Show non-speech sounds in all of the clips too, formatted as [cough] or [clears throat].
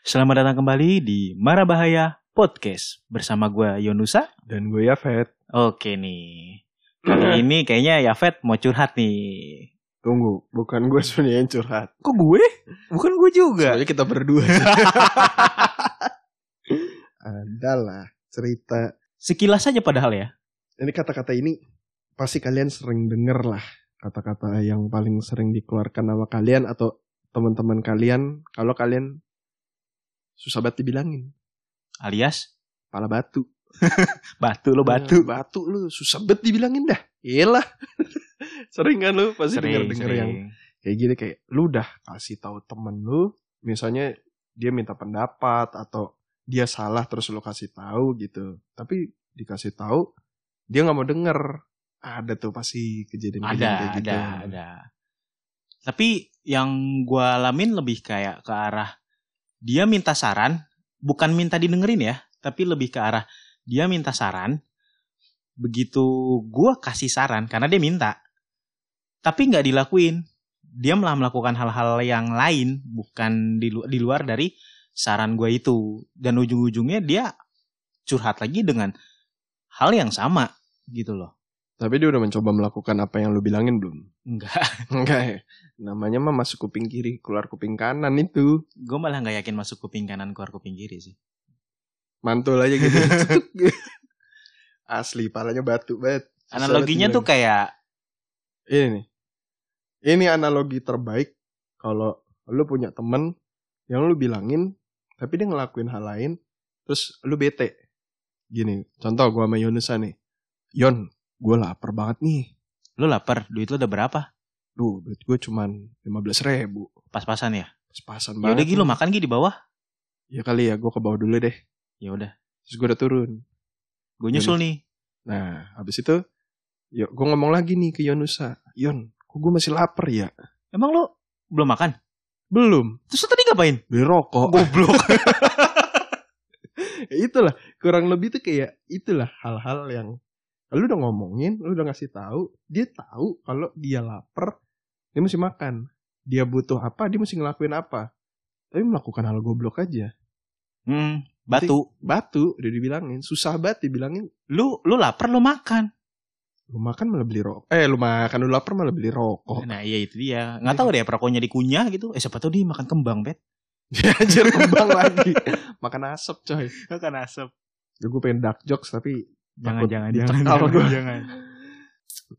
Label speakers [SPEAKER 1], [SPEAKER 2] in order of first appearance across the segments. [SPEAKER 1] Selamat datang kembali di Marabahaya Podcast bersama gue Yonusa.
[SPEAKER 2] Dan gue Yafet.
[SPEAKER 1] Oke nih.
[SPEAKER 2] [clears throat]
[SPEAKER 1] Kali ini kayaknya Yafet mau curhat nih.
[SPEAKER 2] Tunggu, bukan [laughs] gue sebenarnya yang curhat.
[SPEAKER 1] Kok gue? Bukan gue juga.
[SPEAKER 2] Sebenarnya kita berdua. [laughs] Adalah cerita.
[SPEAKER 1] Sekilas saja padahal ya.
[SPEAKER 2] Ini kata-kata ini pasti kalian sering denger lah. Kata-kata yang paling sering dikeluarkan sama kalian atau teman-teman kalian. Kalau kalian susah banget dibilangin.
[SPEAKER 1] Alias
[SPEAKER 2] Pala batu.
[SPEAKER 1] batu lo Oh, batu.
[SPEAKER 2] Ya, batu lu. Susah banget dibilangin dah. Iyalah. [laughs] sering kan lu pasti
[SPEAKER 1] Sering,
[SPEAKER 2] denger-denger yang
[SPEAKER 1] sering.
[SPEAKER 2] kayak gini kayak lu udah kasih tahu temen lu misalnya dia minta pendapat atau dia salah terus lu kasih tahu gitu tapi dikasih tahu dia nggak mau denger ada tuh pasti gitu. kejadian
[SPEAKER 1] Ada, ada, ada. Tapi yang gue alamin lebih kayak ke arah dia minta saran, bukan minta didengerin ya, tapi lebih ke arah dia minta saran. Begitu gue kasih saran karena dia minta, tapi nggak dilakuin. Dia malah melakukan hal-hal yang lain, bukan di, lu- di luar dari saran gue itu. Dan ujung-ujungnya dia curhat lagi dengan hal yang sama gitu loh.
[SPEAKER 2] tapi dia udah mencoba melakukan apa yang lu bilangin belum [laughs]
[SPEAKER 1] Enggak.
[SPEAKER 2] enggak ya namanya mah masuk kuping kiri keluar kuping kanan itu
[SPEAKER 1] gue malah nggak yakin masuk kuping kanan keluar kuping kiri sih
[SPEAKER 2] mantul aja
[SPEAKER 1] [laughs]
[SPEAKER 2] gitu asli palanya batu banget Susah
[SPEAKER 1] analoginya
[SPEAKER 2] banget
[SPEAKER 1] tuh kayak
[SPEAKER 2] ini nih. Ini analogi terbaik kalau lu punya temen yang lu bilangin tapi dia ngelakuin hal lain terus lu bete. Gini, contoh gua sama Yunusa nih. Yon, gue lapar banget nih.
[SPEAKER 1] lu lapar duit lu udah berapa
[SPEAKER 2] Duh, duit gue cuman 15 ribu.
[SPEAKER 1] pas-pasan ya
[SPEAKER 2] Pas-pasan
[SPEAKER 1] ya udah
[SPEAKER 2] banget.
[SPEAKER 1] gitu lu makan gitu di bawah
[SPEAKER 2] Ya kali ya, gue ke bawah dulu deh.
[SPEAKER 1] ya udah
[SPEAKER 2] Terus gue udah turun.
[SPEAKER 1] gue
[SPEAKER 2] Ya
[SPEAKER 1] nyusul nih
[SPEAKER 2] Nah, habis itu, ya gue ngomong lagi nih ke Yonusa. Yon, kok gue masih lapar ya?
[SPEAKER 1] emang lu belum makan
[SPEAKER 2] Belum,
[SPEAKER 1] terus lu tadi ngapain
[SPEAKER 2] beli rokok.
[SPEAKER 1] goblok
[SPEAKER 2] [laughs] Ya itulah kurang lebih tuh kayak itulah hal-hal yang lu udah ngomongin lu udah ngasih tahu dia tahu kalau dia lapar dia mesti makan dia butuh apa dia mesti ngelakuin apa tapi melakukan hal goblok aja
[SPEAKER 1] hmm, batu
[SPEAKER 2] batu udah dibilangin susah banget dibilangin
[SPEAKER 1] lu lu lapar lu makan
[SPEAKER 2] lu makan malah beli rokok eh lu makan lu lapar malah beli rokok [laughs]
[SPEAKER 1] nah iya itu dia nggak tahu deh perokoknya dikunyah gitu eh siapa tahu dia makan kembang bet
[SPEAKER 2] Anjir kembang lagi makan asap coy
[SPEAKER 1] makan asap
[SPEAKER 2] ya, gue pengen dark jokes tapi
[SPEAKER 1] jangan
[SPEAKER 2] Takut
[SPEAKER 1] jangan
[SPEAKER 2] dicekal
[SPEAKER 1] jangan jangan,
[SPEAKER 2] gua.
[SPEAKER 1] jangan.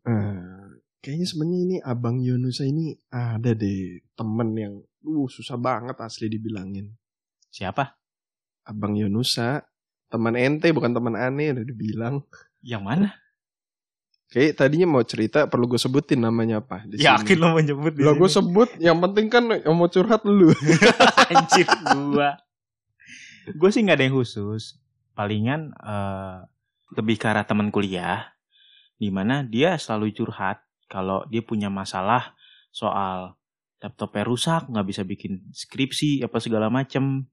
[SPEAKER 2] Eh, kayaknya sebenarnya ini abang Yonusa ini ada deh temen yang uh susah banget asli dibilangin.
[SPEAKER 1] siapa
[SPEAKER 2] Abang Yonusa teman ente bukan teman aneh udah dibilang.
[SPEAKER 1] yang mana
[SPEAKER 2] Kayak tadinya mau cerita perlu gue sebutin namanya apa di
[SPEAKER 1] yakin
[SPEAKER 2] sini.
[SPEAKER 1] lo mau nyebut di
[SPEAKER 2] Lah gue
[SPEAKER 1] sini?
[SPEAKER 2] sebut yang penting kan yang mau curhat lu.
[SPEAKER 1] Anjir gua. Gue sih nggak ada yang khusus. Palingan eh, lebih ke arah teman kuliah dimana dia selalu curhat kalau dia punya masalah soal laptopnya rusak, nggak bisa bikin skripsi apa segala macem.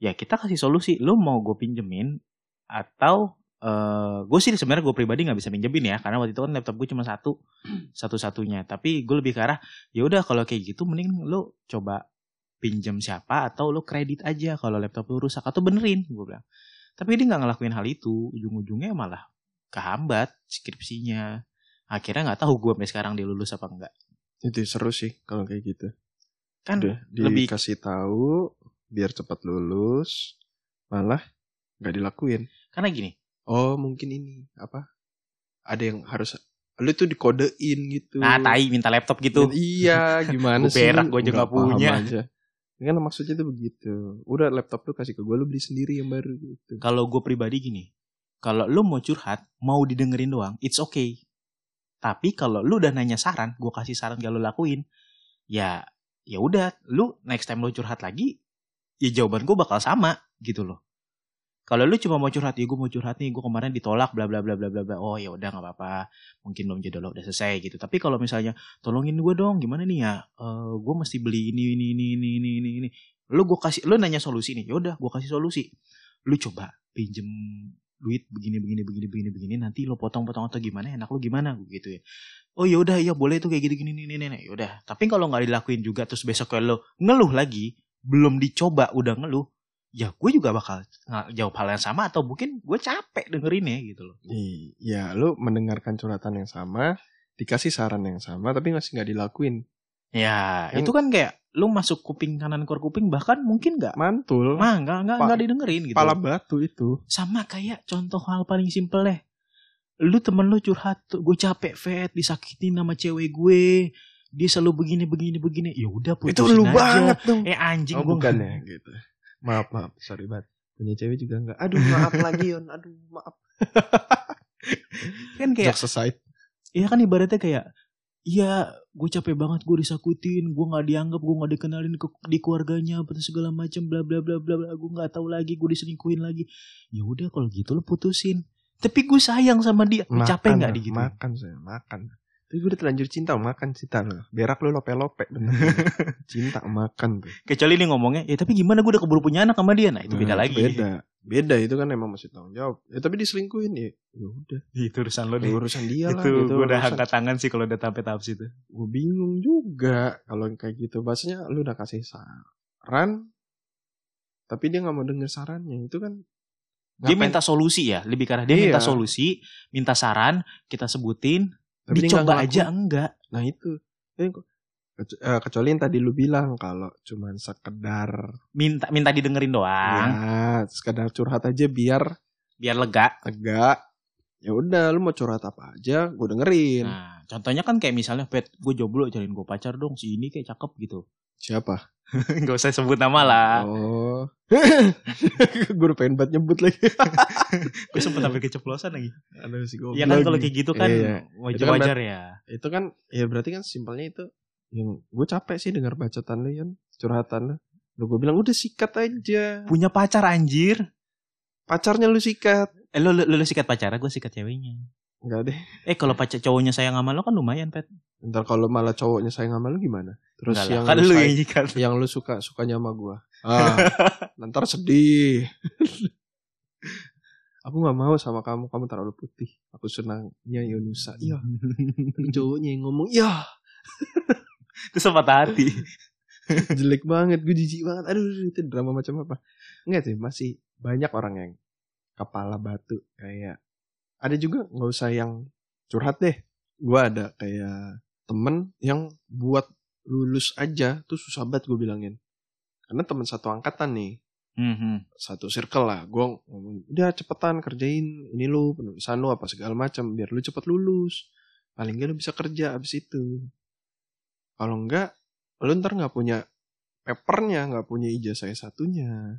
[SPEAKER 1] Ya kita kasih solusi. Lu mau gue pinjemin atau gue sih sebenarnya gue pribadi nggak bisa pinjemin ya karena waktu itu kan laptop gue cuma satu satu-satunya tapi gue lebih ke arah ya udah kalau kayak gitu mending lu coba pinjam siapa atau lu kredit aja kalau laptop lu rusak atau benerin gue bilang tapi dia nggak ngelakuin hal itu ujung-ujungnya malah kehambat skripsinya akhirnya nggak tahu gue sampai sekarang dia lulus apa enggak
[SPEAKER 2] Itu seru sih kalau kayak gitu.
[SPEAKER 1] kan
[SPEAKER 2] Udah
[SPEAKER 1] lebih-
[SPEAKER 2] dikasih tahu biar cepat lulus malah nggak dilakuin.
[SPEAKER 1] karena gini
[SPEAKER 2] Oh mungkin ini apa? Ada yang harus lu tuh dikodein gitu.
[SPEAKER 1] nah tai minta laptop gitu
[SPEAKER 2] [laughs] Iya,
[SPEAKER 1] Gua
[SPEAKER 2] gimana sih?
[SPEAKER 1] berak, gua juga
[SPEAKER 2] Nggak paham
[SPEAKER 1] punya.
[SPEAKER 2] Aja. Ya Kan maksudnya tuh begitu. Udah laptop lu kasih ke gue, lu beli sendiri yang baru gitu.
[SPEAKER 1] kalau gue pribadi gini kalau lu mau curhat mau didengerin doang it's okay tapi kalau lu udah nanya saran gue kasih saran gak lu lakuin ya ya udah lu next time lu curhat lagi ya jawaban gue bakal sama gitu loh kalau lu cuma mau curhat ya gue mau curhat nih gue kemarin ditolak bla bla bla bla bla bla oh ya udah nggak apa-apa mungkin belum jodoh lo udah selesai gitu tapi kalau misalnya tolongin gue dong gimana nih ya Eh gue mesti beli ini ini ini ini ini ini ini lu gue kasih lu nanya solusi nih ya udah gue kasih solusi lu coba pinjem duit begini begini begini begini begini nanti lo potong potong atau gimana enak lu gimana Gua gitu ya oh ya udah ya boleh tuh kayak gitu gini nih nih ya udah tapi kalau nggak dilakuin juga terus besok kalau lo ngeluh lagi belum dicoba udah ngeluh ya gue juga bakal nga- jawab hal yang sama atau mungkin gue capek dengerinnya gitu loh.
[SPEAKER 2] I- ya lu mendengarkan curhatan yang sama dikasih saran yang sama tapi masih nggak dilakuin
[SPEAKER 1] Ya, itu
[SPEAKER 2] Yang-
[SPEAKER 1] kan kayak lu masuk kuping kanan keluar kuping bahkan mungkin nggak
[SPEAKER 2] mantul
[SPEAKER 1] mah nggak nggak
[SPEAKER 2] Pa-
[SPEAKER 1] nggak didengerin gitu.
[SPEAKER 2] pala batu itu
[SPEAKER 1] Sama kayak contoh hal paling simpel deh. Lu temen lu curhat, tuh, gue capek Fet, disakitin sama cewek gue. Dia selalu begini begini begini. Ya udah
[SPEAKER 2] itu
[SPEAKER 1] putusin
[SPEAKER 2] lu
[SPEAKER 1] aja.
[SPEAKER 2] banget dong
[SPEAKER 1] Eh anjing
[SPEAKER 2] oh
[SPEAKER 1] gua
[SPEAKER 2] bukan
[SPEAKER 1] nggak-
[SPEAKER 2] ya gitu maaf maaf sorry banget punya cewek juga nggak Ah, aduh maaf lagi Yon aduh
[SPEAKER 1] [laughs]
[SPEAKER 2] maaf
[SPEAKER 1] Kan kayak
[SPEAKER 2] Jokes aside.
[SPEAKER 1] Iya kan ibaratnya kayak Iya gue capek banget gue disakutin Gue gak dianggap Gue gak dikenalin ke, di keluarganya Apa tuh segala macem bla bla bla bla bla Gue gak tahu lagi Gue diselingkuhin lagi Ya udah kalau gitu lo putusin Tapi gue sayang sama dia Lu capek
[SPEAKER 2] Makan
[SPEAKER 1] gak
[SPEAKER 2] lah,
[SPEAKER 1] di gitu
[SPEAKER 2] Makan saya, makan. Tapi gue udah terlanjur cinta, makan cinta lo. Berak lu lope-lope. bener. [laughs] cinta makan tuh.
[SPEAKER 1] Kecuali ini ngomongnya Ya tapi gimana gue udah keburu punya anak sama dia Nah itu beda
[SPEAKER 2] Nah,
[SPEAKER 1] lagi
[SPEAKER 2] Beda. Beda itu kan emang masih tanggung jawab. Ya tapi diselingkuhin ya. Ya udah,
[SPEAKER 1] Itu urusan lo
[SPEAKER 2] ya
[SPEAKER 1] deh
[SPEAKER 2] urusan dia lah. gitu.
[SPEAKER 1] Itu gue udah
[SPEAKER 2] urusan-
[SPEAKER 1] angkat tangan sih Kalau udah sampai tahap situ
[SPEAKER 2] Gue bingung juga kalau yang kayak gitu. Maksudnya lu udah kasih saran, tapi dia nggak mau denger sarannya. Itu kan
[SPEAKER 1] Dia
[SPEAKER 2] ngapain-
[SPEAKER 1] minta solusi ya Lebih karena dia
[SPEAKER 2] Iya.
[SPEAKER 1] minta solusi Minta saran Kita sebutin
[SPEAKER 2] tapi
[SPEAKER 1] Dicoba
[SPEAKER 2] dia nggak ngelakuin.
[SPEAKER 1] aja enggak
[SPEAKER 2] Nah itu. Ini kok- kecu- eh, Kecuali yang tadi lu bilang kalau cuman sekedar
[SPEAKER 1] Minta minta didengerin doang
[SPEAKER 2] Ya, sekedar curhat aja biar
[SPEAKER 1] biar lega.
[SPEAKER 2] agak ya udah lu mau curhat apa aja gue dengerin
[SPEAKER 1] Nah, contohnya kan kayak misalnya, Pet, gue jomblo cariin gue pacar dong, si ini kayak cakep [laughs] gitu.
[SPEAKER 2] siapa
[SPEAKER 1] Gak usah sebut nama lah.
[SPEAKER 2] oh [laughs] gue udah pengen banget nyebut lagi
[SPEAKER 1] Gue sempet sampai keceplosan lagi.
[SPEAKER 2] Aduh, si goblok
[SPEAKER 1] Iya kan kalau
[SPEAKER 2] nih.
[SPEAKER 1] kayak gitu kan
[SPEAKER 2] Iya. Itu
[SPEAKER 1] wajar
[SPEAKER 2] kan
[SPEAKER 1] wajar ya.
[SPEAKER 2] itu kan ya berarti kan simpelnya itu yang gue capek sih dengar bacotan lu Yan curhatan lu lu gue bilang udah sikat aja
[SPEAKER 1] Punya pacar anjir.
[SPEAKER 2] pacarnya lu sikat
[SPEAKER 1] Eh, lo, lo, lo sikat pacara, gue sikat ceweknya.
[SPEAKER 2] Enggak deh
[SPEAKER 1] Eh, kalau pacar cowoknya sayang sama lo kan lumayan, Pet.
[SPEAKER 2] ntar kalau malah cowoknya sayang sama lu gimana terus
[SPEAKER 1] Enggak
[SPEAKER 2] yang
[SPEAKER 1] lah, kan
[SPEAKER 2] lu
[SPEAKER 1] lo
[SPEAKER 2] sayang-
[SPEAKER 1] yang sikat.
[SPEAKER 2] yang lu suka sukanya sama gua.
[SPEAKER 1] [laughs]
[SPEAKER 2] Ah, ntar sedih. aku nggak mau sama kamu, kamu terlalu putih. Aku senangnya Yunusa. Iya, cowoknya yang ngomong, ya
[SPEAKER 1] Itu sempat hati.
[SPEAKER 2] jelek banget, gue jijik banget. Aduh, itu drama macam apa? Enggak sih, masih banyak orang yang kepala batu kayak. Ada juga nggak usah yang curhat deh. Gua ada kayak temen yang buat lulus aja tuh susah banget gue bilangin. Karena temen satu angkatan nih.
[SPEAKER 1] Mhm.
[SPEAKER 2] satu circle lah gue ngomong udah cepetan kerjain ini lu penulisan lu apa segala macam biar lu cepet lulus paling nggak lu bisa kerja abis itu kalau enggak lu ntar nggak punya papernya nggak punya ijazah S satunya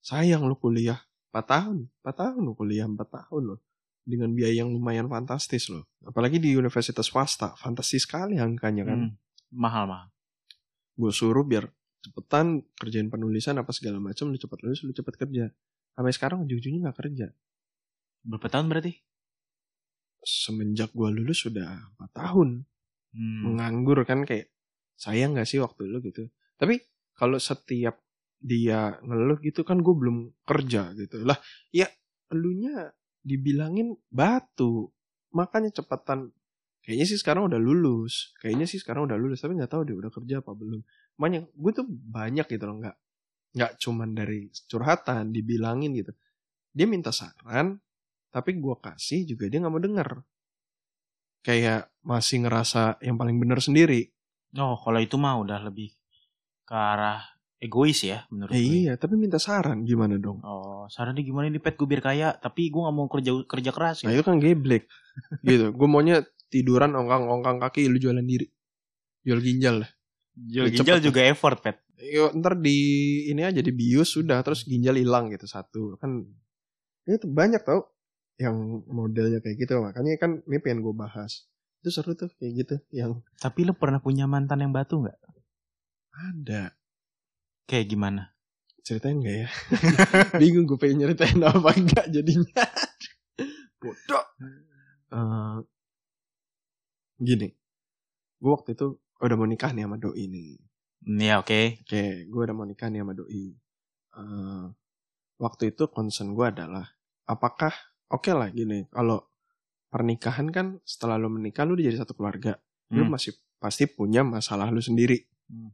[SPEAKER 2] sayang lu kuliah 4 tahun 4 tahun lu kuliah 4 tahun lo dengan biaya yang lumayan fantastis loh apalagi di universitas swasta fantastis sekali angkanya kan
[SPEAKER 1] Mhm. Mahal mahal.
[SPEAKER 2] gue suruh biar cepetan kerjain penulisan apa segala macam lu cepet lulus lu cepet kerja sampai sekarang ujung-ujungnya nggak kerja
[SPEAKER 1] Berapa tahun berarti?
[SPEAKER 2] semenjak gue lulus sudah 4 tahun
[SPEAKER 1] Hmm.
[SPEAKER 2] menganggur kan kayak sayang nggak sih waktu lu gitu tapi kalau setiap dia ngeluh gitu kan gue belum kerja gitu lah ya elunya dibilangin batu makanya cepetan kayaknya sih sekarang udah lulus kayaknya sih sekarang udah lulus tapi nggak tahu dia udah kerja apa belum banyak gue tuh banyak gitu loh nggak nggak cuman dari curhatan dibilangin gitu dia minta saran tapi gue kasih juga dia nggak mau denger kayak masih ngerasa yang paling benar sendiri.
[SPEAKER 1] Oh, kalau itu mah udah lebih ke arah egois ya menurut
[SPEAKER 2] Eh,
[SPEAKER 1] gue.
[SPEAKER 2] iya, tapi minta saran gimana dong?
[SPEAKER 1] Oh, sarannya gimana nih Pet gue biar kaya, tapi gue gak mau kerja kerja keras
[SPEAKER 2] Nah
[SPEAKER 1] ya.
[SPEAKER 2] itu kan geblek [laughs] gitu. Gue maunya tiduran ongkang-ongkang kaki lu jualan diri. Jual ginjal lah.
[SPEAKER 1] Jual
[SPEAKER 2] Ya,
[SPEAKER 1] ginjal
[SPEAKER 2] cepet.
[SPEAKER 1] juga effort, Pet.
[SPEAKER 2] Yo, ntar di ini aja di bius sudah terus ginjal hilang gitu satu kan itu banyak tau yang modelnya kayak gitu makanya kan ini pengen gue bahas itu seru tuh kayak gitu yang
[SPEAKER 1] Tapi lu pernah punya mantan yang batu nggak?
[SPEAKER 2] ada
[SPEAKER 1] Kayak gimana?
[SPEAKER 2] ceritain nggak ya [laughs] bingung gue pengen nyeritain apa enggak jadinya bodoh Eh, gini gue waktu itu udah mau nikah nih sama doi nih
[SPEAKER 1] Hmm, Ya oke.
[SPEAKER 2] oke gue udah mau nikah nih sama doi Eh, waktu itu concern gue adalah apakah oke lah gini kalau pernikahan kan setelah lu menikah lu udah jadi satu keluarga lu
[SPEAKER 1] Hmm.
[SPEAKER 2] masih pasti punya masalah lu sendiri.
[SPEAKER 1] Hmm.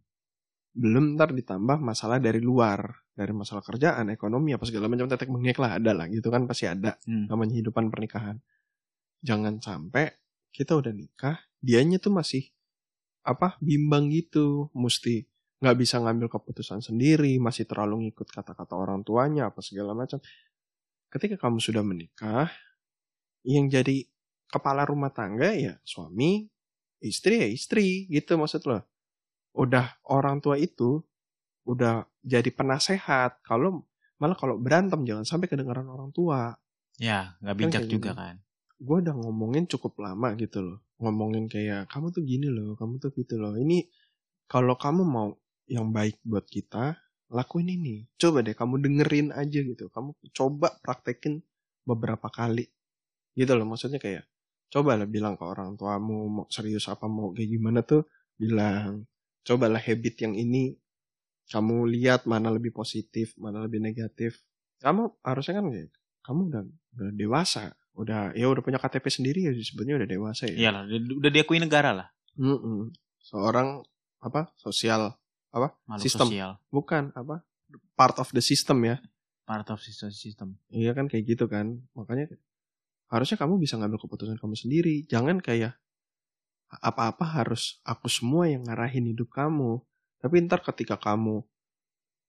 [SPEAKER 2] Belum ntar ditambah masalah dari luar. dari masalah kerjaan, ekonomi apa segala macam tetek bengek lah ada lah gitu kan pasti ada
[SPEAKER 1] Hmm.
[SPEAKER 2] namanya hidupan pernikahan. Jangan sampai kita udah nikah, dianya tuh masih apa bimbang gitu, mesti nggak bisa ngambil keputusan sendiri, masih terlalu ngikut kata-kata orang tuanya apa segala macam. Ketika kamu sudah menikah, yang jadi kepala rumah tangga ya suami, istri ya istri gitu maksud lo. Udah orang tua itu udah jadi penasehat kalau malah kalau berantem jangan sampai kedengaran orang tua
[SPEAKER 1] Ya, nggak bijak
[SPEAKER 2] kayak
[SPEAKER 1] juga
[SPEAKER 2] gitu.
[SPEAKER 1] kan.
[SPEAKER 2] gue udah ngomongin cukup lama gitu loh ngomongin kayak kamu tuh gini loh kamu tuh gitu loh ini kalau kamu mau yang baik buat kita lakuin ini coba deh kamu dengerin aja gitu kamu coba praktekin beberapa kali gitu loh maksudnya kayak cobalah bilang ke orang tuamu mau serius apa mau kayak gimana tuh bilang cobalah habit yang ini kamu lihat mana lebih positif mana lebih negatif kamu harusnya kan kayak kamu udah, udah dewasa udah ya udah punya KTP sendiri ya sebetulnya udah dewasa ya
[SPEAKER 1] Iyalah, udah udah diakui negara lah.
[SPEAKER 2] Mm-mm. seorang apa sosial
[SPEAKER 1] Makhluk
[SPEAKER 2] Sistem.
[SPEAKER 1] sosial.
[SPEAKER 2] bukan apa part of the system ya
[SPEAKER 1] Part of system. system.
[SPEAKER 2] iya kan kayak gitu kan makanya harusnya kamu bisa ngambil keputusan kamu sendiri jangan kayak apa-apa harus aku semua yang ngarahin hidup kamu tapi ntar ketika kamu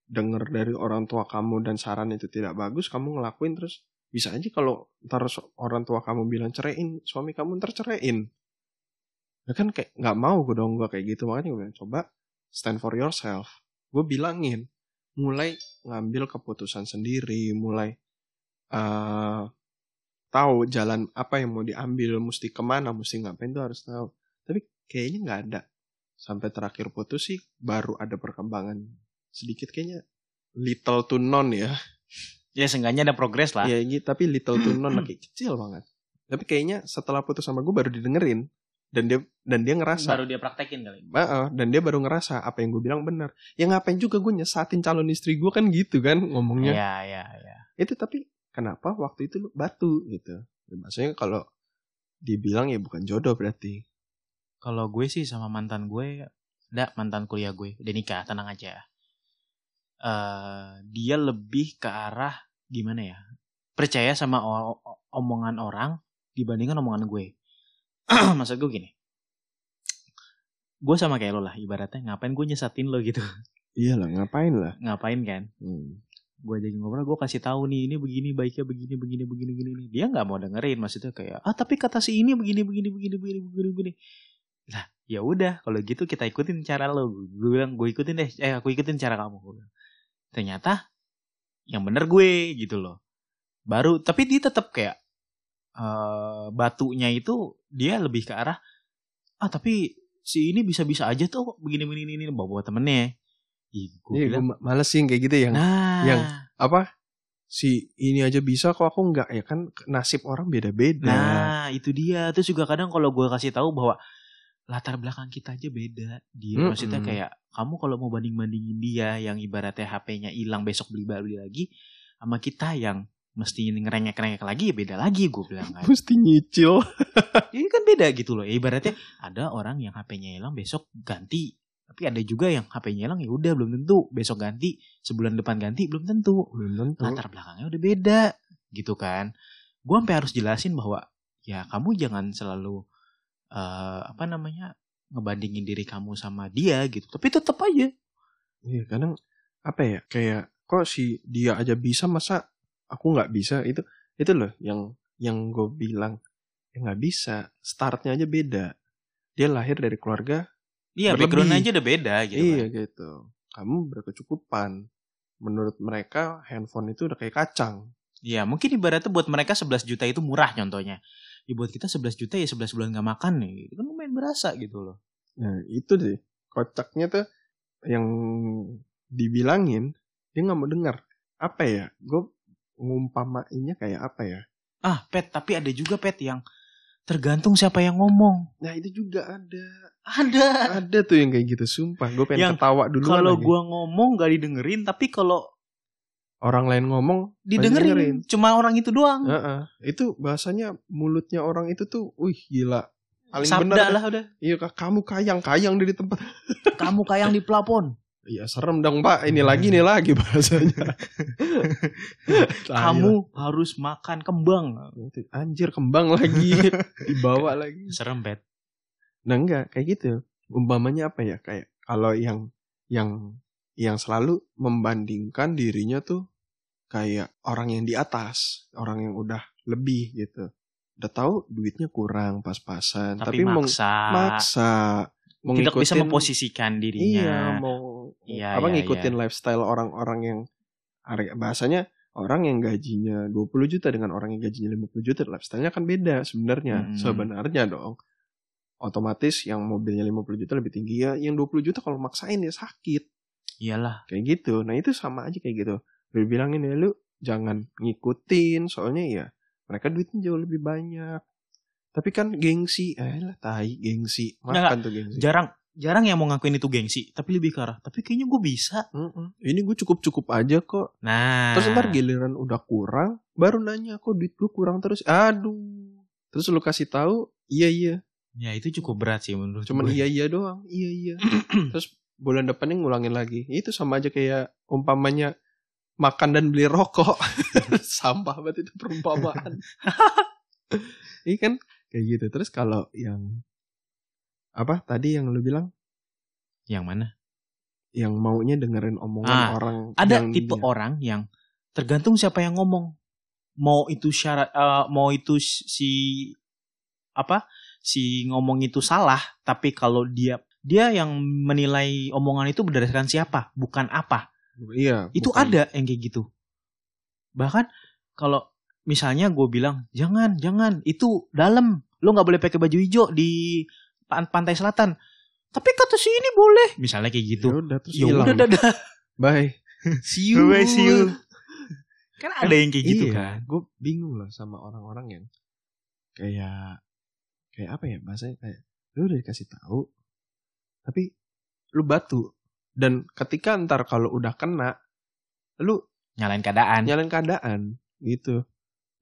[SPEAKER 2] denger dari orang tua kamu dan saran itu tidak bagus kamu ngelakuin terus bisa aja kalau ntar so- orang tua kamu bilang cerein suami kamu ntar cerein ya kan kayak nggak mau gue dong gue kayak gitu makanya gue bilang coba stand for yourself gue bilangin mulai ngambil keputusan sendiri mulai eh tahu jalan apa yang mau diambil, mesti kemana, mesti ngapain tuh harus tahu. Tapi kayaknya nggak ada. Sampai terakhir putus sih baru ada perkembangan sedikit kayaknya little to none ya.
[SPEAKER 1] Ya, seenggaknya ada progres lah.
[SPEAKER 2] Iya gitu, tapi little to none lagi kecil banget. Tapi kayaknya setelah putus sama gue baru didengerin dan dia dan dia ngerasa
[SPEAKER 1] Baru dia praktekin kali.
[SPEAKER 2] Heeh, dan dia baru ngerasa apa yang gue bilang benar. Ya ngapain juga gue nyesatin calon istri gue kan gitu kan ngomongnya
[SPEAKER 1] Iya, iya, iya.
[SPEAKER 2] itu tapi kenapa waktu itu lu batu gitu Ya, maksudnya kalau dibilang ya bukan jodoh berarti
[SPEAKER 1] Kalau gue sih sama mantan gue, enggak mantan kuliah gue, udah nikah, tenang aja. eh dia lebih ke arah gimana ya? Percaya sama o- o- omongan orang dibandingkan omongan gue. [clears throat] Maksud gue gini. Gue sama kayak lo lah, ibaratnya ngapain gue nyesatin lo gitu. [laughs]
[SPEAKER 2] iyalah ngapain Iya lah
[SPEAKER 1] Ngapain kan?
[SPEAKER 2] hmm.
[SPEAKER 1] gue ajakin ngobrol gue kasih tahu nih ini begini baiknya begini begini begini begini nih dia nggak mau dengerin maksudnya kayak ah tapi kata si ini begini begini begini begini begini begini lah ya udah kalau gitu kita ikutin cara lo gue bilang gue ikutin deh eh aku ikutin cara kamu Gua bilang. ternyata yang bener gue gitu loh baru tapi dia tetap kayak eh batunya itu dia lebih ke arah ah tapi si ini bisa-bisa aja tuh begini begini ini bawa bawa temennya Ih, gua
[SPEAKER 2] iya gue
[SPEAKER 1] bilang,
[SPEAKER 2] ma- males sih yang kayak gitu yang
[SPEAKER 1] nah
[SPEAKER 2] yang- apa si ini aja bisa kok aku nggak ya kan nasib orang beda-beda
[SPEAKER 1] Nah, itu dia. Terus juga kadang kalau gue kasih tahu bahwa latar belakang kita aja beda. Dia
[SPEAKER 2] Mm-mm.
[SPEAKER 1] maksudnya kayak kamu kalau mau banding-bandingin dia yang ibaratnya HP-nya hilang besok beli baru beli lagi sama kita yang mesti ngerengek-rengek lagi ya beda lagi gue bilang kan.
[SPEAKER 2] [laughs] mesti [laughs] nyicil
[SPEAKER 1] Ini kan beda gitu loh. Ya, ibaratnya ada orang yang HP-nya hilang besok ganti. Tapi ada juga yang HP-nya hilang ya udah belum tentu besok ganti, sebulan depan ganti belum tentu
[SPEAKER 2] belum tentu
[SPEAKER 1] latar belakangnya udah beda gitu kan gue sampai harus jelasin bahwa ya kamu jangan selalu eh, apa namanya ngebandingin diri kamu sama dia gitu tapi tetap aja
[SPEAKER 2] iya kadang apa ya kayak kok si dia aja bisa masa aku nggak bisa itu itu loh yang yang gue bilang ya nggak bisa startnya aja beda dia lahir dari keluarga
[SPEAKER 1] iya
[SPEAKER 2] Berlebih.
[SPEAKER 1] background aja udah beda gitu
[SPEAKER 2] iya
[SPEAKER 1] kan.
[SPEAKER 2] gitu. Kamu berkecukupan. Menurut mereka handphone itu udah kayak kacang.
[SPEAKER 1] iya mungkin ibaratnya buat mereka 11 juta itu murah contohnya ya buat kita 11 juta ya 11 bulan nggak makan nih itu kan lumayan berasa gitu loh
[SPEAKER 2] Nah itu deh kocaknya tuh yang dibilangin dia nggak mau dengar. Apa ya? Gue ngumpamainnya kayak apa ya?
[SPEAKER 1] ah pet tapi ada juga pet yang tergantung siapa yang ngomong
[SPEAKER 2] Nah itu juga ada.
[SPEAKER 1] ada
[SPEAKER 2] Ada tuh yang kayak gitu. Sumpah gue pengen
[SPEAKER 1] Yang
[SPEAKER 2] ketawa dulu.
[SPEAKER 1] kalau gua ngomong gak didengerin tapi kalau
[SPEAKER 2] Orang lain ngomong.
[SPEAKER 1] didengerin
[SPEAKER 2] Didengerin.
[SPEAKER 1] cuma orang itu doang
[SPEAKER 2] "Heeh." Itu bahasanya mulutnya orang itu tuh. Wih gila. Paling
[SPEAKER 1] Sabda
[SPEAKER 2] bener. [laughs]
[SPEAKER 1] lah udah.
[SPEAKER 2] Iya kamu kayang. Kayang dari tempat.
[SPEAKER 1] Kamu kayang di plafon.
[SPEAKER 2] Iya serem dong pak, ini lagi ini lagi bahasanya.
[SPEAKER 1] [laughs]
[SPEAKER 2] Ah,
[SPEAKER 1] Kamu
[SPEAKER 2] iya.
[SPEAKER 1] harus makan kembang.
[SPEAKER 2] Tai. anjir kembang lagi [laughs] dibawa lagi.
[SPEAKER 1] Serem bet.
[SPEAKER 2] Nah enggak kayak gitu. Umpamanya apa ya kayak kalau yang yang yang selalu membandingkan dirinya tuh kayak orang yang di atas, orang yang udah lebih gitu. Udah tahu duitnya kurang pas-pasan,
[SPEAKER 1] Tapi,
[SPEAKER 2] tapi, meng-
[SPEAKER 1] maksa.
[SPEAKER 2] maksa
[SPEAKER 1] Tidak bisa
[SPEAKER 2] mengikutin-
[SPEAKER 1] memposisikan
[SPEAKER 2] Iya,
[SPEAKER 1] dirinya.
[SPEAKER 2] mau
[SPEAKER 1] Iya,
[SPEAKER 2] apa
[SPEAKER 1] iya,
[SPEAKER 2] ngikutin lifestyle orang-orang yang are- bahasanya orang yang gajinya 20 juta dengan orang yang gajinya 50 juta lifestyle-nya kan beda sebenarnya.
[SPEAKER 1] Hmm.
[SPEAKER 2] Sebenarnya dong. Otomatis yang mobilnya 50 juta lebih tinggi ya, yang 20 juta kalau maksain ya sakit.
[SPEAKER 1] Iyalah.
[SPEAKER 2] Kayak gitu. Nah, itu sama aja kayak gitu. Lu bilangin ya lu jangan ngikutin soalnya ya mereka duitnya jauh lebih banyak. Tapi kan gengsi, eh lah tai gengsi.
[SPEAKER 1] Nggak,
[SPEAKER 2] Makan tuh gengsi.
[SPEAKER 1] Jarang jarang yang mau ngakuin itu gengsi, tapi lebih ke arah tapi kayaknya gue bisa.
[SPEAKER 2] Mm-mm. Ini gue cukup-cukup aja kok.
[SPEAKER 1] Nah.
[SPEAKER 2] Terus ntar giliran udah kurang, baru nanya kok duit gue kurang terus. Aduh. Terus lu kasih tahu, iya iya.
[SPEAKER 1] Ya itu cukup berat sih menurut
[SPEAKER 2] Cuman
[SPEAKER 1] gue.
[SPEAKER 2] iya iya doang, iya
[SPEAKER 1] [clears throat]
[SPEAKER 2] iya. terus bulan depannya ngulangin lagi. Itu sama aja kayak umpamanya makan dan beli rokok. [laughs] Sampah banget itu
[SPEAKER 1] [laughs]
[SPEAKER 2] perumpamaan. Iya kan kayak gitu. Terus kalau yang apa tadi yang lu bilang
[SPEAKER 1] Yang mana?
[SPEAKER 2] yang maunya dengerin omongan
[SPEAKER 1] Ah,
[SPEAKER 2] orang
[SPEAKER 1] Ada
[SPEAKER 2] yang iya.
[SPEAKER 1] tipe
[SPEAKER 2] dia-
[SPEAKER 1] orang yang tergantung siapa yang ngomong. Mau itu syarat eh, mau itu si apa? Si ngomong itu salah, tapi kalau dia dia yang menilai omongan itu berdasarkan siapa, bukan apa.
[SPEAKER 2] iya
[SPEAKER 1] itu
[SPEAKER 2] bukan.
[SPEAKER 1] ada yang kayak gitu bahkan kalau misalnya gue bilang jangan jangan itu dalam lo nggak boleh pakai baju hijau di pan- pantai selatan tapi kata si ini boleh misalnya kayak gitu
[SPEAKER 2] Ya udah terus
[SPEAKER 1] ya
[SPEAKER 2] hilang.
[SPEAKER 1] udah dadah
[SPEAKER 2] Bye.
[SPEAKER 1] see
[SPEAKER 2] [laughs]
[SPEAKER 1] you
[SPEAKER 2] Bye, see you.
[SPEAKER 1] kan ada yang kayak gitu
[SPEAKER 2] Iya,
[SPEAKER 1] kan
[SPEAKER 2] Gue bingung lah sama orang-orang yang kayak kayak apa ya bahasanya kayak lu udah dikasih tahu tapi lu batu dan ketika ntar kalau udah kena lu
[SPEAKER 1] nyalain keadaan
[SPEAKER 2] nyalain keadaan gitu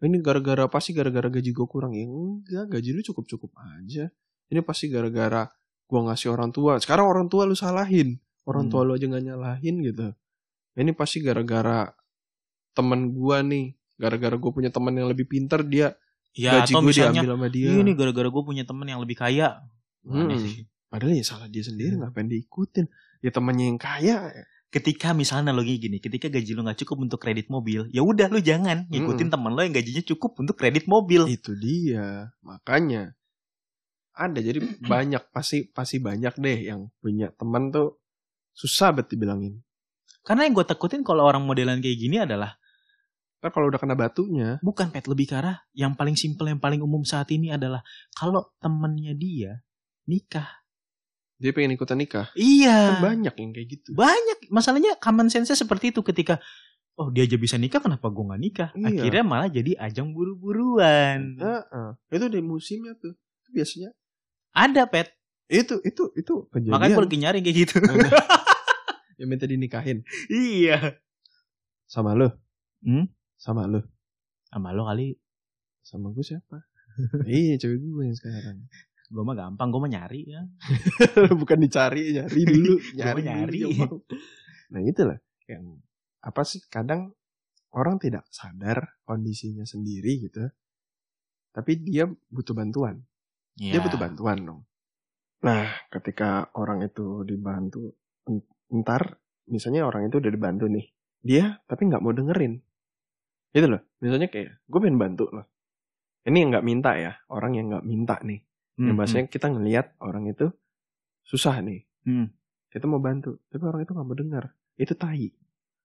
[SPEAKER 2] ini gara-gara pasti gara-gara gaji gue kurang ya enggak gaji lu cukup-cukup aja ini pasti gara-gara gua ngasih orang tua sekarang orang tua lu salahin orang
[SPEAKER 1] Hmm.
[SPEAKER 2] tua lu aja nggak nyalahin gitu ini pasti gara-gara temen gua nih gara-gara gue punya teman yang lebih pintar dia
[SPEAKER 1] ya
[SPEAKER 2] gaji
[SPEAKER 1] atau
[SPEAKER 2] gue
[SPEAKER 1] misalnya Iya,
[SPEAKER 2] diambil sama dia
[SPEAKER 1] ini gara-gara gue punya temen yang lebih kaya
[SPEAKER 2] Hmm.
[SPEAKER 1] Aneh sih. Hmm.
[SPEAKER 2] padahal ya salah dia sendiri ngapain diikutin ya temannya yang kaya
[SPEAKER 1] ketika misalnya analogi gini ketika gaji lo nggak cukup untuk kredit mobil ya udah lo jangan ngikutin temen lo yang gajinya cukup untuk kredit mobil
[SPEAKER 2] Itu dia, makanya ada jadi
[SPEAKER 1] [clears throat]
[SPEAKER 2] banyak pasti pasti banyak deh yang punya teman tuh susah banget dibilangin.
[SPEAKER 1] Karena yang gue takutin kalau orang modelan kayak gini adalah
[SPEAKER 2] Ntar kalau udah kena batunya,
[SPEAKER 1] bukan pet lebih ke arah yang paling simple yang paling umum saat ini adalah kalau temennya dia nikah.
[SPEAKER 2] dia pengen ikutan nikah. Kan
[SPEAKER 1] Iya.
[SPEAKER 2] banyak yang kayak gitu.
[SPEAKER 1] Banyak masalahnya common sense seperti itu ketika oh dia aja bisa nikah kenapa gue nggak nikah?
[SPEAKER 2] Iya. Eh.
[SPEAKER 1] Akhirnya malah jadi ajang buru-buruan.
[SPEAKER 2] Heeh. Itu dari musimnya tuh. Itu biasanya
[SPEAKER 1] Ada pet.
[SPEAKER 2] itu itu itu kejadian.
[SPEAKER 1] Makanya gue lagi nyari kayak gitu. [laughs]
[SPEAKER 2] yang minta dinikahin
[SPEAKER 1] iya.
[SPEAKER 2] sama lo.
[SPEAKER 1] Hmm?
[SPEAKER 2] Sama lo.
[SPEAKER 1] Sama lo kali
[SPEAKER 2] Sama gue siapa? [laughs] iya, cewek gue yang sekarang.
[SPEAKER 1] gue mah gampang gue mah nyari ya.
[SPEAKER 2] bukan dicari nyari dulu
[SPEAKER 1] Gua nyari.
[SPEAKER 2] dulu, gampang. nah itulah yang apa sih kadang orang tidak sadar kondisinya sendiri gitu tapi dia butuh bantuan
[SPEAKER 1] Iya.
[SPEAKER 2] dia butuh bantuan dong nah ketika orang itu dibantu en- ntar misalnya orang itu udah dibantu nih dia tapi nggak mau dengerin gitu loh misalnya kayak gue pengen bantu loh ini yang nggak minta ya orang yang nggak minta nih
[SPEAKER 1] Hmm,
[SPEAKER 2] yang bahasanya kita ngelihat orang itu susah nih
[SPEAKER 1] Hmm.
[SPEAKER 2] kita mau bantu tapi orang itu nggak mau dengar itu tai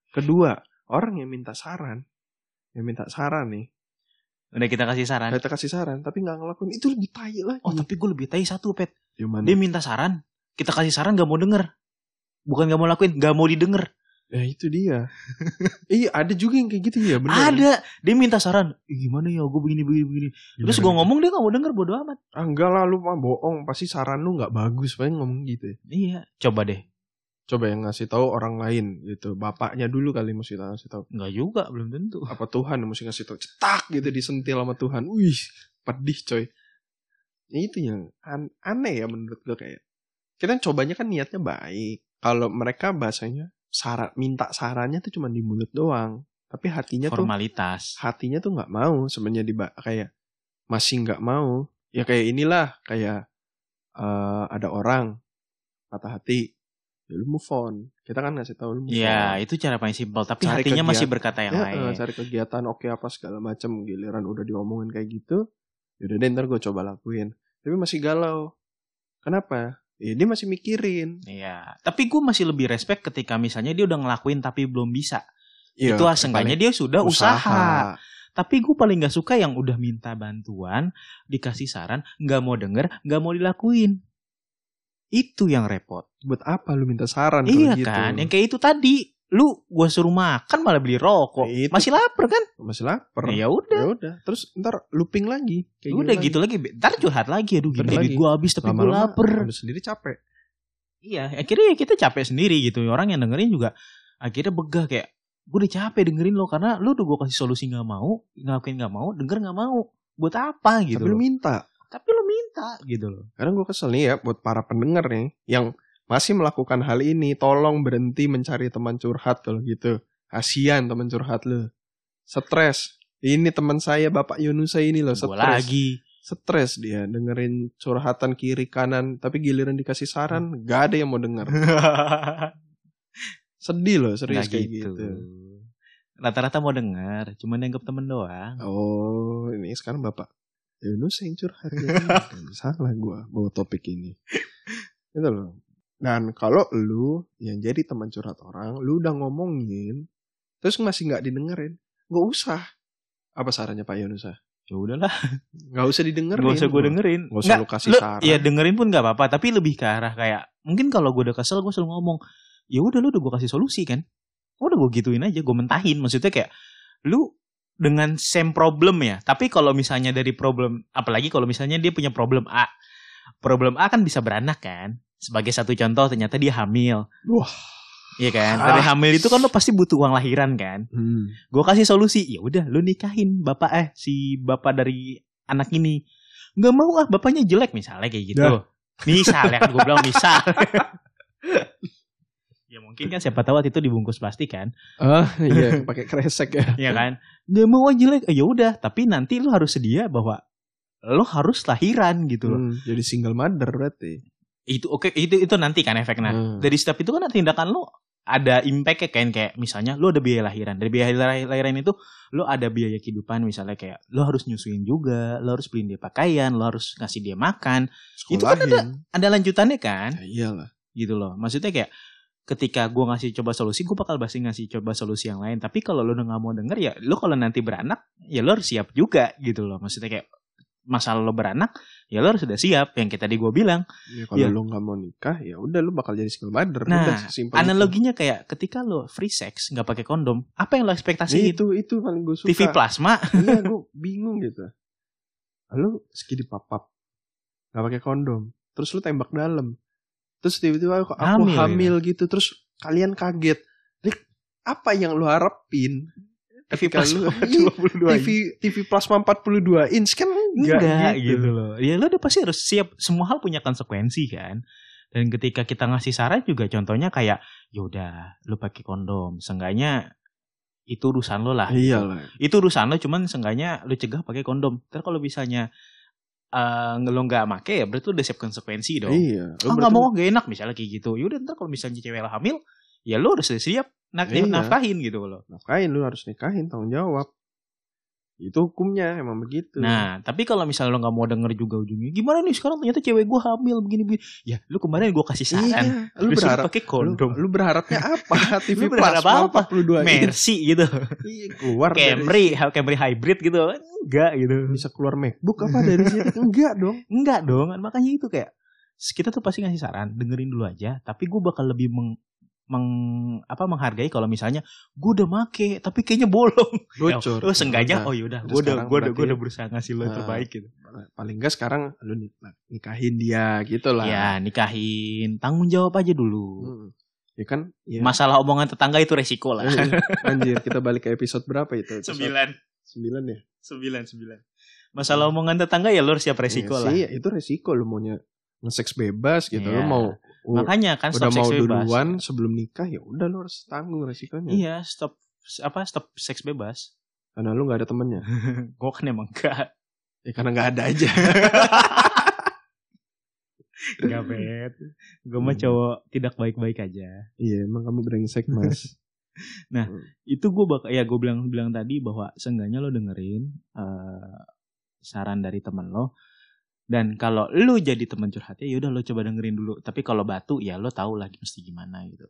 [SPEAKER 2] kedua orang yang minta saran yang minta saran nih
[SPEAKER 1] Udah kita kasih saran.
[SPEAKER 2] kita kasih saran tapi nggak ngelakuin itu lebih tai lagi
[SPEAKER 1] Oh tapi gue lebih tai satu pet.
[SPEAKER 2] Gimana?
[SPEAKER 1] Dia minta saran, kita kasih saran gak mau denger. Bukan gak mau lakuin, gak mau didengar.
[SPEAKER 2] ya itu dia [laughs] iya ada juga yang kayak gitu ya bener
[SPEAKER 1] Ada, dia minta saran. "Ih, Gimana ya, gue begini begini begini. Terus gue ngomong dia gak mau denger bodo amat.
[SPEAKER 2] ah, enggak lah lu mah bohong pasti saran lu nggak bagus paling ngomong gitu ya.
[SPEAKER 1] Iya, coba deh.
[SPEAKER 2] coba yang ngasih tahu orang lain gitu bapaknya dulu kali mesti ngasih tahu
[SPEAKER 1] Enggak juga, belum tentu.
[SPEAKER 2] apa Tuhan yang mesti ngasih tau cetak gitu disentil sama Tuhan wih pedih coy Ya itu yang an- aneh ya menurut gue kayak kita cobanya kan niatnya baik kalau mereka bahasanya syarat minta sarannya tuh cuma di mulut doang tapi hatinya Iya tuh
[SPEAKER 1] formalitas
[SPEAKER 2] hatinya tuh nggak mau sebenarnya di kayak masih nggak mau ya kayak inilah kayak eh, ada orang patah hati ya lu move on kita kan ngasih tahu lu move
[SPEAKER 1] Iya,
[SPEAKER 2] on
[SPEAKER 1] itu cara paling simpel tapi
[SPEAKER 2] Cari
[SPEAKER 1] hatinya masih
[SPEAKER 2] kegiatan.
[SPEAKER 1] berkata yang
[SPEAKER 2] Ya,
[SPEAKER 1] lain
[SPEAKER 2] eh, cari kegiatan oke apa segala macam giliran udah diomongin kayak gitu yaudah deh ntar gue coba lakuin tapi masih galau kenapa ya dia masih mikirin
[SPEAKER 1] Iya, tapi gue masih lebih respect ketika misalnya dia udah ngelakuin tapi belum bisa.
[SPEAKER 2] Ya,
[SPEAKER 1] itu seenggaknya dia sudah Iya, usaha.
[SPEAKER 2] usaha.
[SPEAKER 1] Tapi gue paling gak suka yang udah minta bantuan, dikasih saran, nggak mau denger, nggak mau dilakuin. Itu yang repot.
[SPEAKER 2] buat apa lu minta saran
[SPEAKER 1] iya
[SPEAKER 2] kalau gitu?
[SPEAKER 1] kan, yang kayak itu tadi. Lu gue suruh makan malah beli rokok.
[SPEAKER 2] Itu.
[SPEAKER 1] Masih lapar kan?
[SPEAKER 2] masih lapar
[SPEAKER 1] Ya udah.
[SPEAKER 2] ya udah terus ntar looping lagi kayak
[SPEAKER 1] udah
[SPEAKER 2] gini
[SPEAKER 1] gitu lagi, ntar curhat lagi aduh gini
[SPEAKER 2] Bener
[SPEAKER 1] duit
[SPEAKER 2] lagi.
[SPEAKER 1] gue habis tapi gue
[SPEAKER 2] Lama-lama
[SPEAKER 1] lapar
[SPEAKER 2] lu sendiri capek
[SPEAKER 1] Iya, akhirnya ya kita capek sendiri gitu. Orang yang dengerin juga akhirnya begah kayak gue udah capek dengerin lo karena lo udah gue kasih solusi nggak mau, ngelakuin nggak mau, denger nggak mau. Buat apa gitu?
[SPEAKER 2] tapi lu
[SPEAKER 1] loh.
[SPEAKER 2] minta
[SPEAKER 1] Tapi lo minta gitu loh.
[SPEAKER 2] karena gue kesel nih ya buat para pendengar nih yang masih melakukan hal ini tolong berhenti mencari teman curhat kalau gitu kasian teman curhat lu stres ini teman saya bapak Yunusa ini loh
[SPEAKER 1] Gue
[SPEAKER 2] stres [laughs]
[SPEAKER 1] lagi.
[SPEAKER 2] stres dia dengerin curhatan kiri kanan tapi giliran dikasih
[SPEAKER 1] Hmm.
[SPEAKER 2] saran gak ada yang mau denger
[SPEAKER 1] [laughs]
[SPEAKER 2] sedih loh serius
[SPEAKER 1] Nggak
[SPEAKER 2] kayak
[SPEAKER 1] gitu.
[SPEAKER 2] gitu.
[SPEAKER 1] Rata-rata mau denger, cuman nganggep temen doang.
[SPEAKER 2] Oh, ini sekarang Bapak Yunus yang curhat
[SPEAKER 1] [laughs]
[SPEAKER 2] ya. Aduh, Salah gua bawa topik ini. Itu loh. Dan kalau lu yang jadi teman curhat orang, lu udah ngomongin, terus masih nggak didengerin, nggak usah. Apa sarannya Pak Yunus? ah?
[SPEAKER 1] Ya udahlah,
[SPEAKER 2] Nggak usah didengerin.
[SPEAKER 1] gak usah gue dengerin.
[SPEAKER 2] Nggak usah
[SPEAKER 1] Nggak,
[SPEAKER 2] lu kasih
[SPEAKER 1] lo-
[SPEAKER 2] saran.
[SPEAKER 1] Ya dengerin pun nggak apa-apa, tapi lebih ke arah kayak mungkin kalau gue udah kesel gue selalu ngomong, ya udah lu udah gue kasih solusi kan, udah gue gituin aja, gue mentahin, maksudnya kayak lu dengan same problem ya, tapi kalau misalnya dari problem, apalagi kalau misalnya dia punya problem A, problem A kan bisa beranak kan, sebagai satu contoh ternyata dia hamil,
[SPEAKER 2] Wah.
[SPEAKER 1] Iya kan, dari
[SPEAKER 2] Ah.
[SPEAKER 1] hamil itu kan lo pasti butuh uang lahiran kan,
[SPEAKER 2] Hmm.
[SPEAKER 1] gue kasih solusi ya udah lu nikahin bapak eh si bapak dari anak ini nggak mau ah bapaknya jelek misalnya kayak gitu
[SPEAKER 2] Dah.
[SPEAKER 1] misalnya kan gue bilang
[SPEAKER 2] [laughs]
[SPEAKER 1] misal ya mungkin kan siapa tahu waktu itu dibungkus plastik kan
[SPEAKER 2] Ah, iya, [laughs] pakai kresek
[SPEAKER 1] ya
[SPEAKER 2] ya.
[SPEAKER 1] kan nggak mau ah jelek ya udah tapi nanti lu harus sedia bahwa lo harus lahiran gitu loh
[SPEAKER 2] Hmm, jadi single mother berarti.
[SPEAKER 1] itu oke itu itu nanti kan efeknya
[SPEAKER 2] Hmm.
[SPEAKER 1] dari step itu kan tindakan lu ada impact kan kayak misalnya lu ada biaya lahiran dari biaya lahir- lahiran itu lu ada biaya kehidupan misalnya kayak lu harus nyusuin juga lu harus beliin dia pakaian lu harus ngasih dia makan itu kan ada-
[SPEAKER 2] Sekolahin.
[SPEAKER 1] ada lanjutannya kan
[SPEAKER 2] Ya, iyalah.
[SPEAKER 1] gitu loh maksudnya kayak ketika gua ngasih coba solusi gua bakal pasti ngasih coba solusi yang lain tapi kalau lu nggak mau denger ya lu kalau nanti beranak ya lu harus siap juga gitu loh maksudnya kayak masalah lo beranak ya lo harus sudah siap yang kayak tadi gua bilang
[SPEAKER 2] Ya, kalau
[SPEAKER 1] Iya.
[SPEAKER 2] lu nggak mau nikah, ya udah lu bakal jadi single mother.
[SPEAKER 1] Nah,
[SPEAKER 2] udah, sesimpel itu.
[SPEAKER 1] analoginya kayak ketika lo free sex nggak pakai kondom apa yang lo ekspektasi
[SPEAKER 2] Iya, itu itu paling gue suka.
[SPEAKER 1] TV plasma
[SPEAKER 2] Iya, gue bingung gitu. Lu skidi papap, nggak pakai kondom, terus lu tembak dalam, terus tiba-tiba aku, aku
[SPEAKER 1] Hamil, ya?
[SPEAKER 2] hamil, gitu, terus kalian kaget. Rik, apa yang lu harapin?
[SPEAKER 1] TV
[SPEAKER 2] Ketika lu-
[SPEAKER 1] plasma
[SPEAKER 2] Iya,
[SPEAKER 1] 22
[SPEAKER 2] TV TV plasma 42 inch kan enggak,
[SPEAKER 1] enggak gitu.
[SPEAKER 2] gitu.
[SPEAKER 1] loh ya lo udah pasti harus siap semua hal punya konsekuensi kan dan ketika kita ngasih saran juga contohnya kayak yaudah lo pakai kondom seenggaknya itu urusan lo lah gitu.
[SPEAKER 2] Iya lah.
[SPEAKER 1] itu urusan lo cuman seenggaknya lo cegah pakai kondom ntar kalau misalnya eh lo nggak make ya berarti lo udah siap konsekuensi dong
[SPEAKER 2] Iya. Lu
[SPEAKER 1] ah nggak
[SPEAKER 2] berarti-
[SPEAKER 1] mau gak enak misalnya kayak gitu yaudah ntar kalau misalnya cewek lo hamil ya lo udah siap nak
[SPEAKER 2] Iya.
[SPEAKER 1] nafkahin gitu loh
[SPEAKER 2] nafkahin lu harus nikahin tanggung jawab. Itu hukumnya emang begitu.
[SPEAKER 1] nah tapi kalau misalnya lo nggak mau denger juga ujungnya gimana nih sekarang ternyata cewek gue hamil begini begini ya lo kemarin gue kasih saran
[SPEAKER 2] Iya,
[SPEAKER 1] disuruh
[SPEAKER 2] lu berharap
[SPEAKER 1] pakai
[SPEAKER 2] lu,
[SPEAKER 1] kondom
[SPEAKER 2] lu berharapnya
[SPEAKER 1] [laughs]
[SPEAKER 2] apa? TV
[SPEAKER 1] Lu berharap
[SPEAKER 2] plasma
[SPEAKER 1] apa?
[SPEAKER 2] 42 inch.
[SPEAKER 1] Mercy gitu
[SPEAKER 2] Iya, keluar dari
[SPEAKER 1] Camry Camry hybrid gitu enggak gitu
[SPEAKER 2] bisa keluar MacBook apa dari sini?
[SPEAKER 1] [laughs]
[SPEAKER 2] Enggak dong.
[SPEAKER 1] enggak dong makanya itu kayak kita tuh pasti ngasih saran dengerin dulu aja tapi gue bakal lebih meng, meng- apa menghargai kalau misalnya gue udah make tapi kayaknya bolong [laughs]
[SPEAKER 2] Bocor.
[SPEAKER 1] Lo sengaja
[SPEAKER 2] Nah,
[SPEAKER 1] oh yaudah
[SPEAKER 2] Terus
[SPEAKER 1] gue udah
[SPEAKER 2] sekarang
[SPEAKER 1] gue udah gue
[SPEAKER 2] berarti-
[SPEAKER 1] udah berusaha ngasih lo yang
[SPEAKER 2] Nah.
[SPEAKER 1] terbaik gitu.
[SPEAKER 2] paling enggak sekarang lu nik- nikahin dia gitu lah.
[SPEAKER 1] Ya nikahin tanggung jawab aja dulu.
[SPEAKER 2] Hmm. Ya kan? Ya.
[SPEAKER 1] Masalah omongan tetangga itu resiko lah. [laughs]
[SPEAKER 2] Eh, Anjir, kita balik ke episode berapa itu? Episode
[SPEAKER 1] sembilan
[SPEAKER 2] sembilan ya?
[SPEAKER 1] sembilan sembilan. Masalah omongan tetangga ya lo harus siap resiko
[SPEAKER 2] Iya
[SPEAKER 1] lah.
[SPEAKER 2] sih, ya, itu resiko lu maunya nge-sex bebas gitu. Lu
[SPEAKER 1] Iya.
[SPEAKER 2] mau
[SPEAKER 1] Makanya kan
[SPEAKER 2] udah
[SPEAKER 1] stop
[SPEAKER 2] mau
[SPEAKER 1] seks bebas.
[SPEAKER 2] duluan sebelum nikah ya udah lu harus tanggung resikonya
[SPEAKER 1] Iya, stop apa stop seks bebas.
[SPEAKER 2] karena lu nggak ada temennya
[SPEAKER 1] Gue kan emang [laughs] gak
[SPEAKER 2] ya karena nggak ada aja
[SPEAKER 1] Gak pet. Gue mah
[SPEAKER 2] Hmm.
[SPEAKER 1] cowok tidak baik-baik aja.
[SPEAKER 2] iya emang kamu brengsek mas
[SPEAKER 1] Itu gue bakal ya gue bilang bilang tadi bahwa seenggaknya lo dengerin eh, saran dari temen lo. Dan kalau lo jadi teman curhatnya, yaudah lo coba dengerin dulu. Tapi kalau batu ya lo tau lagi mesti gimana gitu.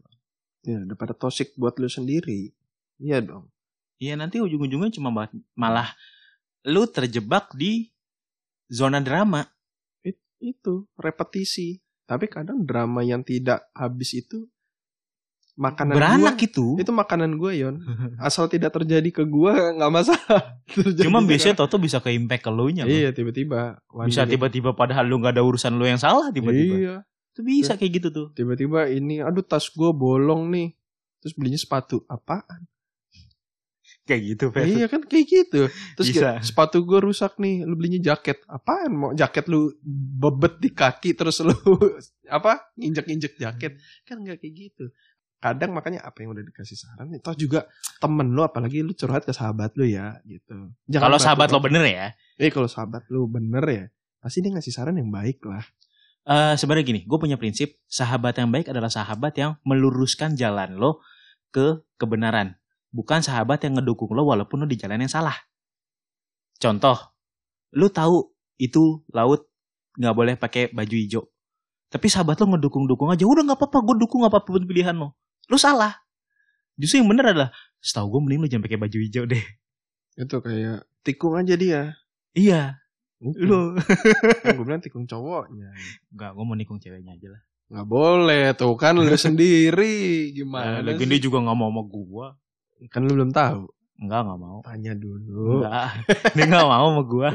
[SPEAKER 2] ya daripada tosik buat lu sendiri iya dong
[SPEAKER 1] Iya nanti ujung-ujungnya cuma ba- malah lo terjebak di zona drama.
[SPEAKER 2] itu repetisi tapi kadang drama yang tidak habis itu makanan
[SPEAKER 1] Beranak
[SPEAKER 2] Nah, gua-
[SPEAKER 1] itu.
[SPEAKER 2] itu makanan gue yon asal tidak terjadi ke gua [laughs] nggak masalah
[SPEAKER 1] [laughs]
[SPEAKER 2] Terjadi
[SPEAKER 1] Cuma
[SPEAKER 2] ke-
[SPEAKER 1] biasanya Toto bisa ke impact ke lo nya. Bang.
[SPEAKER 2] iya tiba-tiba One
[SPEAKER 1] Bisa
[SPEAKER 2] day-
[SPEAKER 1] tiba-tiba padahal lu nggak ada urusan lu yang salah tiba-tiba.
[SPEAKER 2] iya
[SPEAKER 1] Itu bisa kayak gitu tuh.
[SPEAKER 2] tiba-tiba ini aduh tas gue bolong nih terus belinya sepatu apa
[SPEAKER 1] Kayak gitu,
[SPEAKER 2] iya kan kayak gitu terus
[SPEAKER 1] Bisa.
[SPEAKER 2] kayak, sepatu gue rusak nih lu belinya jaket apaan mau jaket lu bebet di kaki terus lu [laughs] apa injek-injek jaket kan nggak kayak gitu kadang makanya apa yang udah dikasih saran itu juga temen lu apalagi lu curhat ke sahabat lu ya gitu Jangan
[SPEAKER 1] Kalau
[SPEAKER 2] batu-
[SPEAKER 1] sahabat lo bener ya.
[SPEAKER 2] eh kalau sahabat lu bener ya pasti dia ngasih saran yang baik lah
[SPEAKER 1] Eh Sebenarnya gini, gue punya prinsip sahabat yang baik adalah sahabat yang meluruskan jalan lo ke kebenaran, bukan sahabat yang ngedukung lo walaupun lo di jalan yang salah. Contoh, lu tahu itu laut nggak boleh pakai baju hijau, tapi sahabat lo ngedukung-dukung aja, udah nggak apa-apa, gue dukung apapun pilihan lo, lo salah. Justru yang bener adalah, setahu gue mending lo jangan pakai baju hijau deh. [laughs]
[SPEAKER 2] itu kayak tikung aja dia
[SPEAKER 1] Iya, lo.
[SPEAKER 2] gue bilang tikung cowoknya
[SPEAKER 1] Enggak, gue mau nikung ceweknya aja lah.
[SPEAKER 2] nggak boleh tuh kan
[SPEAKER 1] [laughs]
[SPEAKER 2] lu sendiri gimana
[SPEAKER 1] Lagi
[SPEAKER 2] sih?
[SPEAKER 1] dia Eh, juga nggak mau sama gue.
[SPEAKER 2] kan lu belum tahu
[SPEAKER 1] Enggak, nggak mau.
[SPEAKER 2] tanya dulu
[SPEAKER 1] Enggak, [laughs] dia nggak mau sama
[SPEAKER 2] [laughs]
[SPEAKER 1] gue.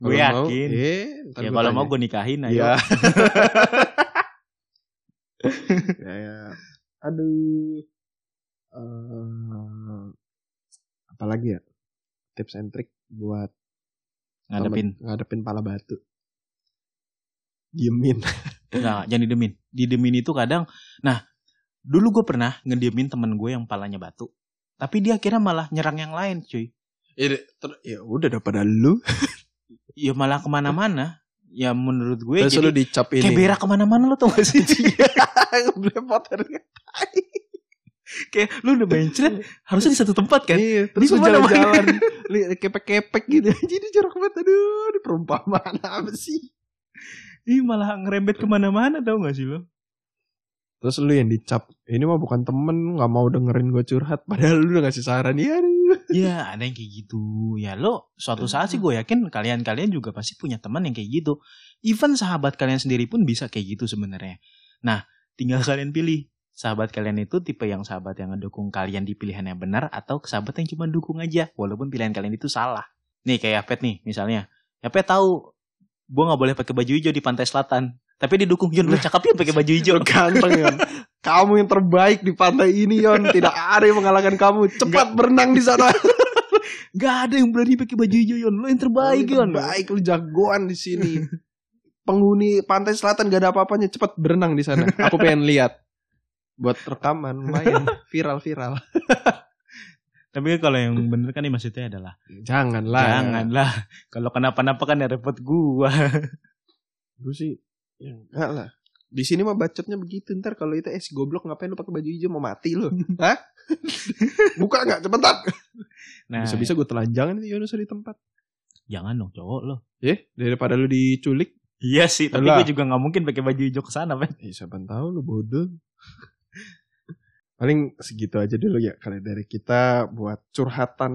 [SPEAKER 1] Gue
[SPEAKER 2] Kalau mau,
[SPEAKER 1] yakin.
[SPEAKER 2] eh, ntar
[SPEAKER 1] ya
[SPEAKER 2] gua
[SPEAKER 1] kalau
[SPEAKER 2] tanya.
[SPEAKER 1] mau gue nikahin ayo.
[SPEAKER 2] [laughs] Iya. ya, ya. aduh Eh, apalagi ya tips and trick buat
[SPEAKER 1] Ngadepin.
[SPEAKER 2] temen- ngadepin pala batu [laughs] diemin
[SPEAKER 1] Nah, jangan didemin. Didemin itu kadang, nah dulu gue pernah ngediemin temen gue yang palanya batu. Tapi dia akhirnya malah nyerang yang lain cuy.
[SPEAKER 2] ya, ter- ya udah daripada lu
[SPEAKER 1] Ya malah kemana-mana. Ya menurut gue
[SPEAKER 2] terus lu
[SPEAKER 1] jadi
[SPEAKER 2] dicap ini Iya,
[SPEAKER 1] kayak
[SPEAKER 2] [laughs]
[SPEAKER 1] berak kemana-mana lo tau gak sih?
[SPEAKER 2] Belepotan kan?
[SPEAKER 1] kayak lu udah
[SPEAKER 2] [laughs]
[SPEAKER 1] mencret harusnya di satu tempat kan?
[SPEAKER 2] Iya, terus
[SPEAKER 1] Di
[SPEAKER 2] lu
[SPEAKER 1] mana
[SPEAKER 2] jalan-jalan [laughs] li- kepek-kepek gitu. [laughs] Jadi jorok banget aduh, di perumpamaan [laughs] apa sih?
[SPEAKER 1] Ih malah ngerembet kemana-mana tau gak sih lo?
[SPEAKER 2] Terus lu yang dicap, ini mah bukan temen, nggak mau dengerin gue curhat. Padahal lu udah ngasih saran, ya aduh.
[SPEAKER 1] Iya ada yang kayak gitu Ya lo suatu saat sih gue yakin Kalian-kalian juga pasti punya teman yang kayak gitu Even sahabat kalian sendiri pun bisa kayak gitu sebenarnya Nah tinggal [laughs] kalian pilih Sahabat kalian itu tipe yang sahabat yang ngedukung kalian di pilihan yang benar Atau sahabat yang cuma dukung aja Walaupun pilihan kalian itu salah Nih kayak Yapet nih misalnya Yapet tahu Gue gak boleh pakai baju hijau di pantai selatan Tapi didukung Yun lu cakep ya pakai baju hijau
[SPEAKER 2] Lu ganteng Yon. Kamu yang terbaik di pantai ini Yon Tidak ada yang mengalahkan kamu Cepat berenang di sana
[SPEAKER 1] Gak ada yang berani pakai baju hijau Yun Lu yang terbaik
[SPEAKER 2] Lu
[SPEAKER 1] Yun
[SPEAKER 2] Terbaik lu jagoan di sini Penghuni pantai selatan gak ada apa-apanya Cepat berenang di sana Aku pengen lihat Buat rekaman [laughs] lumayan Viral-viral
[SPEAKER 1] Tapi kan kalau yang bener kan nih maksudnya adalah
[SPEAKER 2] Janganlah
[SPEAKER 1] Janganlah. Kalau kenapa-napa kan ya repot gua.
[SPEAKER 2] Gue sih ya enggak lah. Di sini mah bacotnya begitu ntar kalau itu es goblok ngapain lu pakai baju hijau mau mati lu. [laughs] Hah? Buka enggak cepetan.
[SPEAKER 1] Nah,
[SPEAKER 2] Bisa-bisa gue telanjangan itu Yunus di tempat.
[SPEAKER 1] jangan dong cowok lo.
[SPEAKER 2] Eh, daripada lu diculik.
[SPEAKER 1] Iya sih, tapi
[SPEAKER 2] Lah.
[SPEAKER 1] gue juga nggak mungkin pakai baju hijau ke sana, Pak.
[SPEAKER 2] Eh, siapa tahu lu bodoh. [laughs] Paling segitu aja dulu ya kali dari kita buat curhatan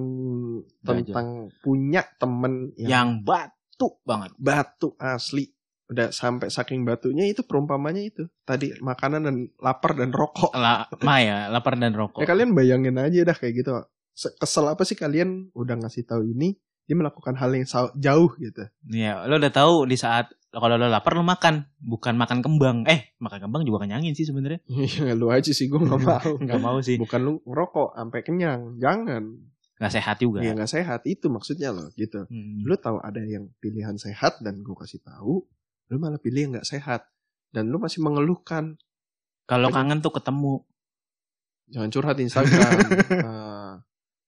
[SPEAKER 1] Udah aja.
[SPEAKER 2] tentang punya temen yang
[SPEAKER 1] Yang batu banget.
[SPEAKER 2] batu asli. Udah sampai saking batunya itu perumpamannya itu. Tadi makanan dan lapar dan rokok.
[SPEAKER 1] La, ma ya, lapar dan rokok.
[SPEAKER 2] Ya kalian bayangin aja dah kayak gitu. Se- Kesel apa sih kalian udah ngasih tahu ini, dia melakukan hal yang sau- jauh gitu. [laughs]
[SPEAKER 1] Iya, lo udah tahu di saat kalau lo lapar lo makan, bukan makan kembang. Eh, makan kembang juga kenyangin sih sebenarnya.
[SPEAKER 2] Iya lu aja sih gue
[SPEAKER 1] [laughs]
[SPEAKER 2] nggak mau.
[SPEAKER 1] Nggak mau sih,
[SPEAKER 2] Bukan lu rokok sampai kenyang, jangan.
[SPEAKER 1] nggak sehat juga.
[SPEAKER 2] Ya nggak sehat itu maksudnya loh gitu.
[SPEAKER 1] Hmm.
[SPEAKER 2] Lu tahu ada yang pilihan sehat dan gue kasih tahu, lu malah pilih yang nggak sehat dan lu masih mengeluhkan.
[SPEAKER 1] Kalau kangen tuh ketemu.
[SPEAKER 2] Jangan curhat Instagram.
[SPEAKER 1] [laughs]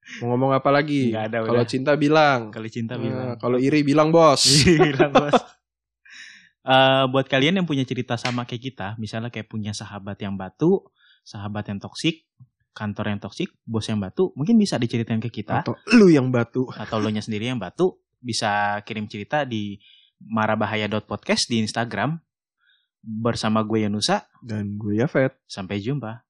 [SPEAKER 2] Nah, mau ngomong apa lagi?
[SPEAKER 1] Nggak ada
[SPEAKER 2] Kalau
[SPEAKER 1] udah. Iya.
[SPEAKER 2] cinta bilang.
[SPEAKER 1] Kali cinta
[SPEAKER 2] Nah,
[SPEAKER 1] bilang.
[SPEAKER 2] Kalau iri bilang bos.
[SPEAKER 1] Bilang, Bos. Eh, buat kalian yang punya cerita sama kayak kita, misalnya kayak punya sahabat yang batu, sahabat yang toksik, kantor yang toksik, bos yang batu, mungkin bisa diceritain ke kita.
[SPEAKER 2] Atau lu yang batu.
[SPEAKER 1] atau lo nya sendiri yang batu bisa kirim cerita di marabahaya.podcast di Instagram bersama gue Yanusa
[SPEAKER 2] Dan gue ya, Yafet.
[SPEAKER 1] sampai jumpa